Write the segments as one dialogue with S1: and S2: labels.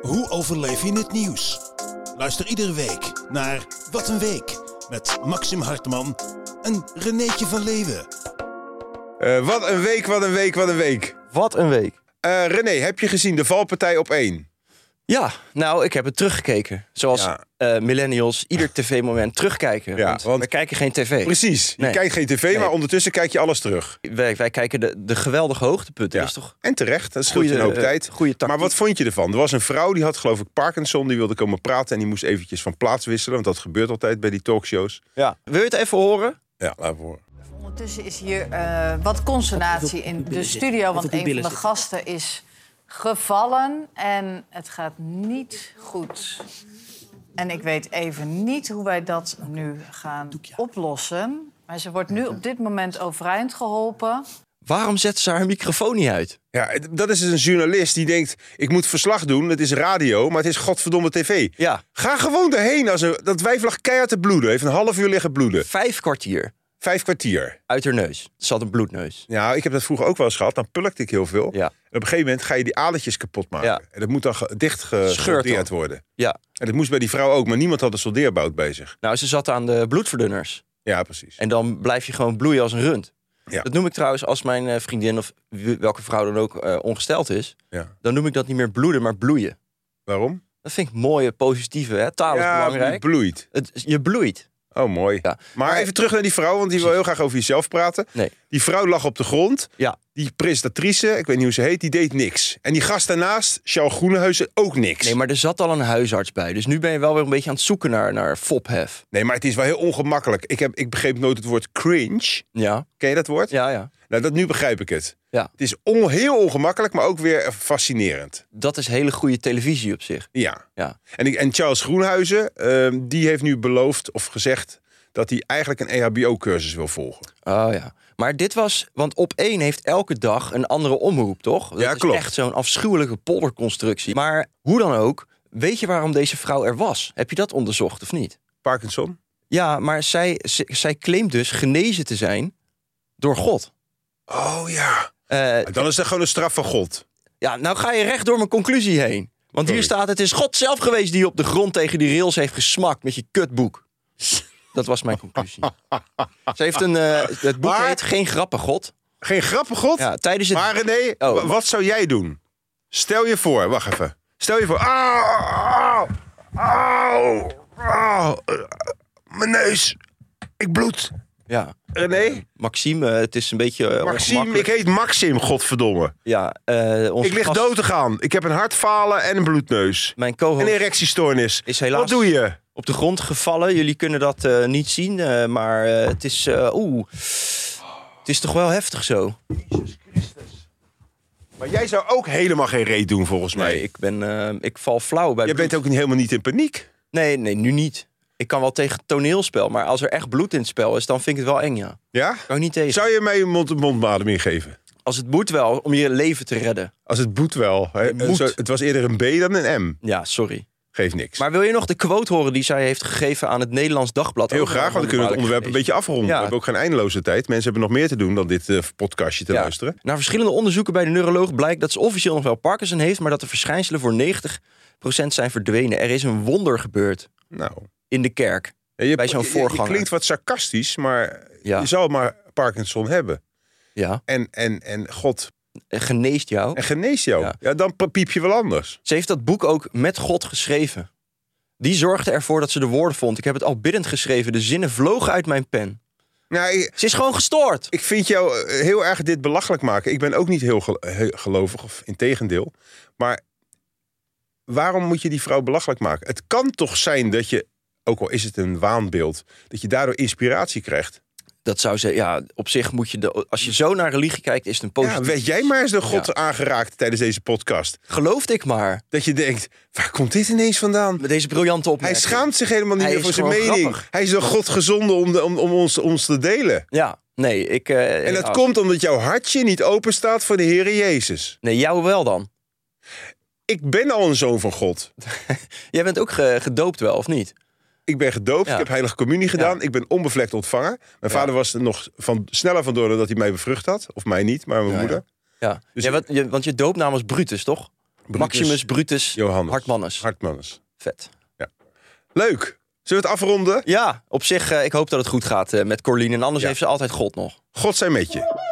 S1: Hoe overleef je het nieuws? Luister iedere week naar Wat een Week met Maxim Hartman en Renéetje van Leeuwen.
S2: Eh, wat een week, wat een week, wat een week.
S3: Wat een week.
S2: Eh, René, heb je gezien de valpartij op één?
S3: Ja, nou, ik heb het teruggekeken. Zoals
S2: Ja.
S3: eh, millennials ieder tv-moment terugkijken.
S2: Ja,
S3: want,
S2: want-
S3: we kijken geen tv.
S2: Precies. Je
S3: Nee.
S2: kijkt geen tv, maar
S3: Nee.
S2: ondertussen kijk je alles terug.
S3: Wij, wij kijken de, de geweldige hoogtepunten.
S2: Ja.
S3: Dat is toch...
S2: En terecht, dat scheelt je
S3: Goeie,
S2: een hoop
S3: eh,
S2: tijd.
S3: goeie tactiek.
S2: maar wat vond je ervan? Er was een vrouw die had geloof ik Parkinson, die wilde komen praten en die moest eventjes van plaats wisselen, want dat gebeurt altijd bij die talkshows.
S3: Ja. Wil je het even horen?
S2: Ja, laten we horen.
S4: Ondertussen is hier eh, wat consternatie in de studio, want een van de gasten is gevallen en het gaat niet goed. En ik weet even niet hoe wij dat nu gaan oplossen. Maar ze wordt nu op dit moment overeind geholpen.
S3: Waarom zet ze haar microfoon niet uit?
S2: Ja, het- dat is dus een journalist die denkt, ik moet verslag doen, het is radio, maar het is godverdomme tv.
S3: Ja.
S2: Ga gewoon erheen. Als een, dat wijf lag keihard te bloeden, heeft een half uur liggen bloeden.
S3: Vijf kwartier
S2: Vijf kwartier.
S3: uit haar neus. Ze had een bloedneus.
S2: Ja, ik heb dat vroeger ook wel eens gehad. Dan plukte ik heel veel.
S3: Ja.
S2: En op een gegeven moment ga je die adertjes kapot maken.
S3: Ja.
S2: En dat moet dan ge- dicht ge-
S3: Scheurt dan.
S2: gesoldeerd worden.
S3: Ja.
S2: En dat moest bij die vrouw ook, maar niemand had een soldeerbout bij zich.
S3: Nou, ze zat aan de bloedverdunners.
S2: Ja, precies.
S3: En dan blijf je gewoon bloeien als een rund.
S2: Ja.
S3: Dat noem ik trouwens als mijn eh, vriendin of wie- welke vrouw dan ook eh, ongesteld is.
S2: Ja.
S3: Dan noem ik dat niet meer bloeden, maar bloeien.
S2: Waarom?
S3: Dat vind ik mooie, positieve. Hè? Taal is
S2: ja,
S3: belangrijk.
S2: het bloeit.
S3: Het, je bloeit.
S2: Oh, mooi.
S3: Ja.
S2: Maar even terug naar die vrouw, want die wil heel graag over jezelf praten.
S3: Nee.
S2: Die vrouw lag op de grond.
S3: Ja.
S2: Die presentatrice, ik weet niet hoe ze heet, die deed niks. En die gast daarnaast, Charles Groenhuizen, ook niks.
S3: Nee, maar er zat al een huisarts bij. Dus nu ben je wel weer een beetje aan het zoeken naar, naar fophef.
S2: Nee, maar het is wel heel ongemakkelijk. Ik, heb, ik begreep nooit het woord cringe.
S3: Ja,
S2: Ken je dat woord?
S3: ja, ja.
S2: Nou, dat, nu begrijp ik het.
S3: Ja.
S2: Het is on- heel ongemakkelijk, maar ook weer fascinerend.
S3: Dat is hele goede televisie op zich.
S2: Ja.
S3: Ja.
S2: En, ik, en Charles Groenhuizen, ehm, die heeft nu beloofd of gezegd dat hij eigenlijk een E EHBO-cursus wil volgen.
S3: Oh ja. Maar dit was, want op één heeft elke dag een andere omroep, toch? Dat
S2: Ja, klopt.
S3: is echt zo'n afschuwelijke polderconstructie. Maar hoe dan ook, weet je waarom deze vrouw er was? Heb je dat onderzocht of niet?
S2: Parkinson?
S3: Ja, maar zij, z- zij claimt dus genezen te zijn door God.
S2: Oh ja.
S3: Eh,
S2: Dan is dat gewoon een straf van God.
S3: ja, nou ga je recht door mijn conclusie heen. Want hier
S2: Sorry.
S3: staat, het is God zelf geweest die op de grond tegen die rails heeft gesmakt met je kutboek. Dat was mijn conclusie. Ze heeft een, eh, het boek
S2: Maar-
S3: heet Geen Grappen God.
S2: Geen grappige God.
S3: Ja, tijdens het...
S2: Maar René,
S3: Oh.
S2: wa- wat zou jij doen? Stel je voor, wacht even. Stel je voor. Auw, auw, auw, eh, mijn neus. Ik bloed.
S3: Ja,
S2: René,
S3: Maxime, eh, het is een beetje eh,
S2: Maxime, ik
S3: ongemakkelijk.
S2: heet Maxim, godverdomme.
S3: Ja, eh, onze
S2: Ik lig
S3: gast-
S2: dood te gaan. Ik heb een hartfalen en een bloedneus.
S3: Mijn
S2: Een
S3: co-host
S2: erectiestoornis.
S3: is helaas-
S2: Wat doe je?
S3: op de grond gevallen. Jullie kunnen dat eh, niet zien, eh, maar eh, het is... eh, Oeh, het is toch wel heftig zo.
S2: Maar jij zou ook helemaal geen reet doen volgens mij.
S3: Nee, ik, ben, eh, ik val flauw bij
S2: Jij
S3: bloed.
S2: bent ook niet- helemaal niet in paniek.
S3: Nee, nee, nu niet. Ik kan wel tegen toneelspel, maar als er echt bloed in het spel is, dan vind ik het wel eng, ja.
S2: Ja?
S3: Kan ik niet tegen.
S2: Zou je mij een mond-mond bademing geven?
S3: Als het moet wel, om je leven te redden.
S2: Als het bloed wel. hè?
S3: Het moet.
S2: Zo- het was eerder een B dan een M.
S3: Ja, sorry.
S2: Geeft niks.
S3: Maar wil je nog de quote horen die zij heeft gegeven aan het Nederlands Dagblad?
S2: Heel
S3: Ook
S2: graag, want dan kunnen we het onderwerp een beetje afronden.
S3: Ja.
S2: We hebben ook geen eindeloze tijd. Mensen hebben nog meer te doen dan dit eh, podcastje te
S3: Ja.
S2: luisteren.
S3: Na verschillende onderzoeken bij de neuroloog blijkt dat ze officieel nog wel Parkinson heeft, maar dat de verschijnselen voor 90% zijn verdwenen. Er is een wonder gebeurd
S2: Nou,
S3: in de kerk.
S2: Ja, je,
S3: Bij zo'n
S2: je- je-
S3: voorganger.
S2: Je klinkt wat sarcastisch, maar
S3: Ja.
S2: je zal maar Parkinson hebben.
S3: Ja,
S2: En, en, en God
S3: en geneest jou.
S2: En genees jou. Ja.
S3: Ja.
S2: dan piep je wel anders.
S3: Ze heeft dat boek ook met God geschreven. Die zorgde ervoor dat ze de woorden vond. Ik heb het al biddend geschreven. De zinnen vlogen uit mijn pen.
S2: Nou, ik,
S3: Ze is gewoon gestoord.
S2: ik vind jou eh, heel erg dit belachelijk maken. Ik ben ook niet heel gel- he- gelovig, of integendeel. Maar waarom moet je die vrouw belachelijk maken? Het kan toch zijn dat je, ook al is het een waanbeeld, dat je daardoor inspiratie krijgt.
S3: dat zou ze, ja, op zich moet je, de, als je zo naar religie kijkt, is het een
S2: Ja,
S3: positief.
S2: weet jij maar eens de God
S3: Ja.
S2: aangeraakt tijdens deze podcast.
S3: Geloof ik maar,
S2: Dat je denkt, waar komt dit ineens vandaan?
S3: met deze briljante
S2: Hij
S3: opmerking.
S2: schaamt zich helemaal niet
S3: Hij
S2: meer
S3: is
S2: voor zijn
S3: gewoon
S2: mening.
S3: grappig.
S2: Hij is door God gezonden om, de- om, om ons, ons te delen.
S3: Ja, nee, ik... eh,
S2: En dat
S3: ja,
S2: komt omdat jouw hartje niet open staat voor de Heere Jezus.
S3: Nee, jou wel dan.
S2: Ik ben al een zoon van God.
S3: Jij bent ook ge- gedoopt wel, of niet?
S2: Ik ben gedoopt,
S3: Ja.
S2: ik heb heilige communie gedaan. Ik ben onbevlekt ontvangen. Mijn
S3: Ja.
S2: vader was er nog van, sneller vandoor dat hij mij bevrucht had. Of mij niet, maar mijn
S3: Ja,
S2: moeder.
S3: Ja,
S2: Dus
S3: ja
S2: ik-
S3: want, je, want je doopnaam was Brutus, toch? Maximus Brutus
S2: Johannes.
S3: Hartmannes.
S2: Hartmanners.
S3: Vet.
S2: Leuk. Zullen we het afronden?
S3: Ja, op zich, eh, ik hoop dat het goed gaat eh, met Corleen. En anders
S2: Ja.
S3: heeft ze altijd God nog.
S2: God zij met je.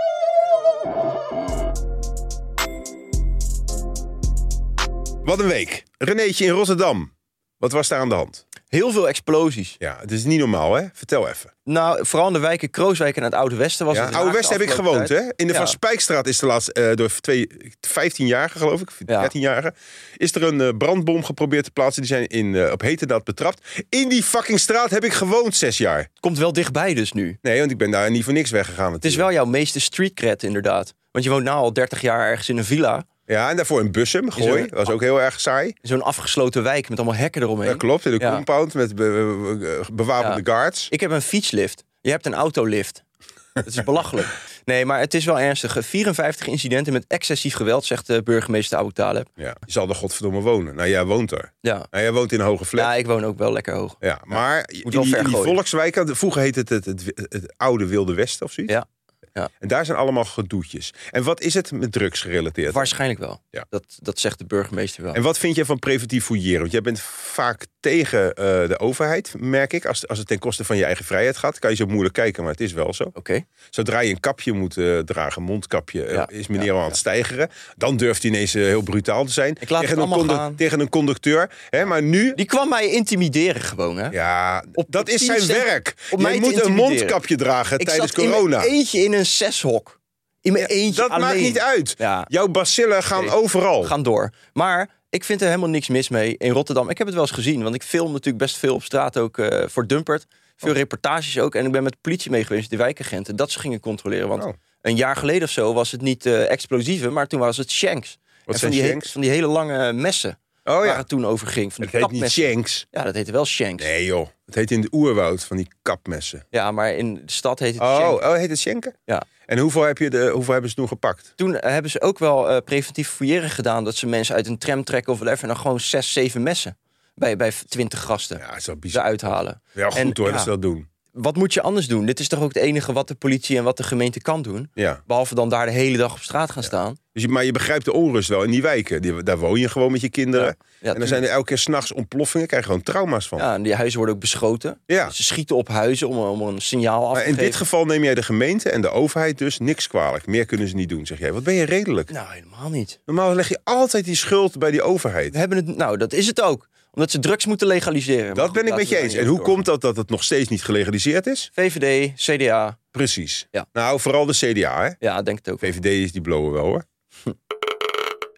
S2: Wat een week. Renéetje in Rotterdam. Wat was daar aan de hand?
S3: Heel veel explosies.
S2: Ja, het is niet normaal, hè? Vertel even.
S3: Nou, vooral in de wijken Krooswijk en het Oude Westen was
S2: Ja,
S3: het. in
S2: Oude
S3: Haag
S2: West heb ik
S3: de afgelopen
S2: gewoond,
S3: tijd.
S2: hè? In de
S3: Ja.
S2: Van Spijkstraat is de laatste, eh, door twee, 15-jarigen, geloof ik,
S3: Ja.
S2: 13-jarigen, is er een eh, brandbom geprobeerd te plaatsen. Die zijn in, eh, op hete daad betrapt. In die fucking straat heb ik gewoond zes jaar.
S3: Het komt wel dichtbij dus nu.
S2: Nee, want ik ben daar niet voor niks weggegaan.
S3: Het is wel jouw meeste streetcred inderdaad. Want je woont nou al 30 jaar ergens in een villa.
S2: Ja, en daarvoor in Bussum, Gooi.
S3: er-
S2: was ook heel erg saai.
S3: In zo'n afgesloten wijk met allemaal hekken eromheen.
S2: Dat klopt, in de
S3: Ja.
S2: compound met be- be- bewapende guards.
S3: Ik heb een fietslift. Je hebt een autolift. Dat is belachelijk. Nee, maar het is wel ernstig. 54 incidenten met excessief geweld, zegt de burgemeester Abu Taleb.
S2: Ja. Je zal er godverdomme wonen. Nou, jij woont er.
S3: Ja.
S2: Nou, jij woont in een hoge flat.
S3: ja,
S2: Ja,
S3: ik woon ook wel lekker hoog.
S2: maar in
S3: wel
S2: die,
S3: ver
S2: in die
S3: gooien.
S2: volkswijken, de- vroeger heette het het, het het oude Wilde Westen of zoiets.
S3: Ja. Ja.
S2: En daar zijn allemaal gedoetjes. En wat is het met drugs gerelateerd?
S3: Waarschijnlijk wel.
S2: Ja.
S3: Dat, dat zegt de burgemeester wel.
S2: En wat vind jij van preventief fouilleren? Want jij bent vaak tegen eh, de overheid, merk ik. Als, als het ten koste van je eigen vrijheid gaat, kan je zo moeilijk kijken, maar het is wel zo.
S3: Oké.
S2: Zodra je een kapje moet eh, dragen, mondkapje, eh,
S3: Ja,
S2: is meneer
S3: ja,
S2: al aan het stijgeren. Dan durft hij ineens eh, heel brutaal te zijn.
S3: Ik laat
S2: tegen,
S3: het
S2: een
S3: allemaal
S2: condu-
S3: gaan.
S2: tegen een conducteur. Hè, maar nu,
S3: Die kwam mij intimideren gewoon, hè?
S2: ja,
S3: Op-
S2: dat
S3: op
S2: is
S3: 10
S2: zijn
S3: cent-
S2: werk.
S3: om
S2: je
S3: mij te
S2: moet een
S3: intimideren.
S2: mondkapje dragen
S3: ik
S2: tijdens
S3: zat in mijn
S2: corona.
S3: eentje in een zeshok. In mijn eentje
S2: dat
S3: alleen.
S2: maakt niet uit.
S3: Ja.
S2: Jouw bacillen gaan
S3: Nee.
S2: overal.
S3: gaan door. Maar ik vind er helemaal niks mis mee in Rotterdam. Ik heb het wel eens gezien, want ik film natuurlijk best veel op straat ook eh, voor Dumpert. Veel
S2: Oh.
S3: reportages ook. En ik ben met de politie mee geweest, de wijkagenten, dat ze gingen controleren. Want
S2: Oh.
S3: een jaar geleden of zo was het niet eh explosieven, maar toen was het shanks. En
S2: zijn
S3: van die, he-
S2: shanks?
S3: van die hele lange messen
S2: Oh
S3: waar
S2: ja,
S3: het toen over ging. Van
S2: het
S3: die
S2: heet niet
S3: kapmessen.
S2: Shanks.
S3: Ja, dat heette wel shanks.
S2: Nee joh, het heet in de oerwoud van die kapmessen.
S3: Ja, maar in de stad heet het
S2: Oh,
S3: shanks.
S2: oh heet het Schenken?
S3: Ja.
S2: En hoeveel, heb je de, hoeveel hebben ze toen gepakt?
S3: Toen eh, hebben ze ook wel eh, preventief fouilleren gedaan... dat ze mensen uit een tram trekken of whatever... en dan gewoon zes, zeven messen bij, bij twintig gasten
S2: Ja, het is wel bizar.
S3: eruit halen.
S2: Wel goed
S3: En,
S2: hoor
S3: ja.
S2: dat ze dat doen.
S3: wat moet je anders doen? Dit is toch ook het enige wat de politie en wat de gemeente kan doen?
S2: Ja.
S3: Behalve dan daar de hele dag op straat gaan staan.
S2: Dus je- maar je begrijpt de onrust wel in die wijken. Die, daar woon je gewoon met je kinderen. en dan
S3: tuurlijk.
S2: zijn er elke keer s'nachts ontploffingen. Krijg je gewoon trauma's van.
S3: ja, en die huizen worden ook beschoten.
S2: Ja.
S3: Ze schieten op huizen om, om een signaal af te
S2: maar in
S3: geven.
S2: dit geval neem jij de gemeente en de overheid dus niks kwalijk. Meer kunnen ze niet doen, zeg jij. Wat ben je redelijk?
S3: Nou, helemaal niet.
S2: Normaal leg je altijd die schuld bij die overheid.
S3: We hebben het, nou, dat is het ook. Omdat ze drugs moeten legaliseren. Maar
S2: Dat
S3: goed,
S2: ben ik
S3: laten
S2: met je
S3: we daar
S2: eens.
S3: niet
S2: En
S3: op
S2: hoe
S3: door.
S2: komt dat dat het nog steeds niet gelegaliseerd is?
S3: VVD, CDA.
S2: Precies.
S3: Ja.
S2: Nou, vooral de CDA, hè?
S3: Ja, denk het ook.
S2: VVD is die blowen wel, hoor.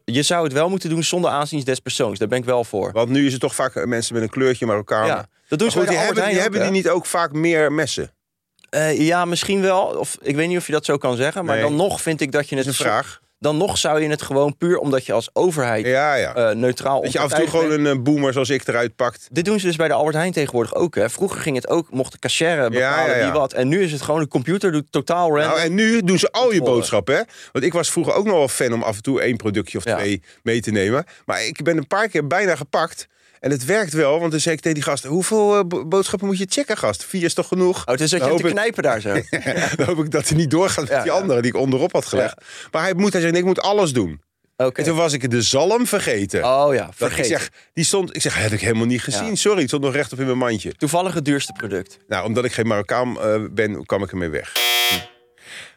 S3: Je zou het wel moeten doen zonder aanzien des persoons. Daar ben ik wel voor.
S2: Want nu is het toch vaak eh, mensen met een kleurtje Marokkaan.
S3: Ja, dat doen
S2: Maar
S3: ze
S2: goed, die
S3: bij de Albert
S2: hebben, die,
S3: Heijn
S2: hebben
S3: ook,
S2: die
S3: hè?
S2: niet ook vaak meer messen? Dat
S3: Eh, ja, misschien wel. Of, ik weet niet of je dat zo kan zeggen. Maar
S2: Nee.
S3: dan nog vind ik dat je
S2: is
S3: het...
S2: een vraag.
S3: Dan nog zou je het gewoon puur omdat je als overheid
S2: Ja, ja.
S3: eh, neutraal
S2: Dat je af en toe
S3: onpartijdig
S2: gewoon
S3: bent.
S2: een eh, boomer zoals ik eruit pakt.
S3: Dit doen ze dus bij de Albert Heijn tegenwoordig ook. Hè. Vroeger ging het ook, mocht de cashier bepalen
S2: Ja, ja, ja.
S3: wie wat. En nu is het gewoon, de computer doet totaal random.
S2: Nou, en nu doen ze al je
S3: Controle.
S2: boodschappen, hè? Want ik was vroeger ook nog wel fan om af en toe één productje of
S3: Ja.
S2: twee mee te nemen. Maar ik ben een paar keer bijna gepakt. En het werkt wel, want dan zei ik tegen die gast... hoeveel eh, bo- boodschappen moet je checken, gast? Vier is toch genoeg?
S3: Oh, het is dat je hem
S2: hoop
S3: te
S2: ik-
S3: knijpen daar zo.
S2: dan hoop ik dat hij niet doorgaat met
S3: Ja,
S2: die
S3: ja.
S2: andere die ik onderop had gelegd. Maar hij, moet, hij zegt, nee, ik moet alles doen.
S3: Oké.
S2: En toen was ik de zalm vergeten.
S3: Oh ja,
S2: dat ik
S3: vergeet.
S2: zeg, die stond, ik zeg, heb ik helemaal niet gezien.
S3: Ja.
S2: Sorry, het stond nog rechtop in mijn mandje.
S3: Toevallig het duurste product.
S2: Nou, omdat ik geen Marokkaan eh, ben, kwam ik ermee weg.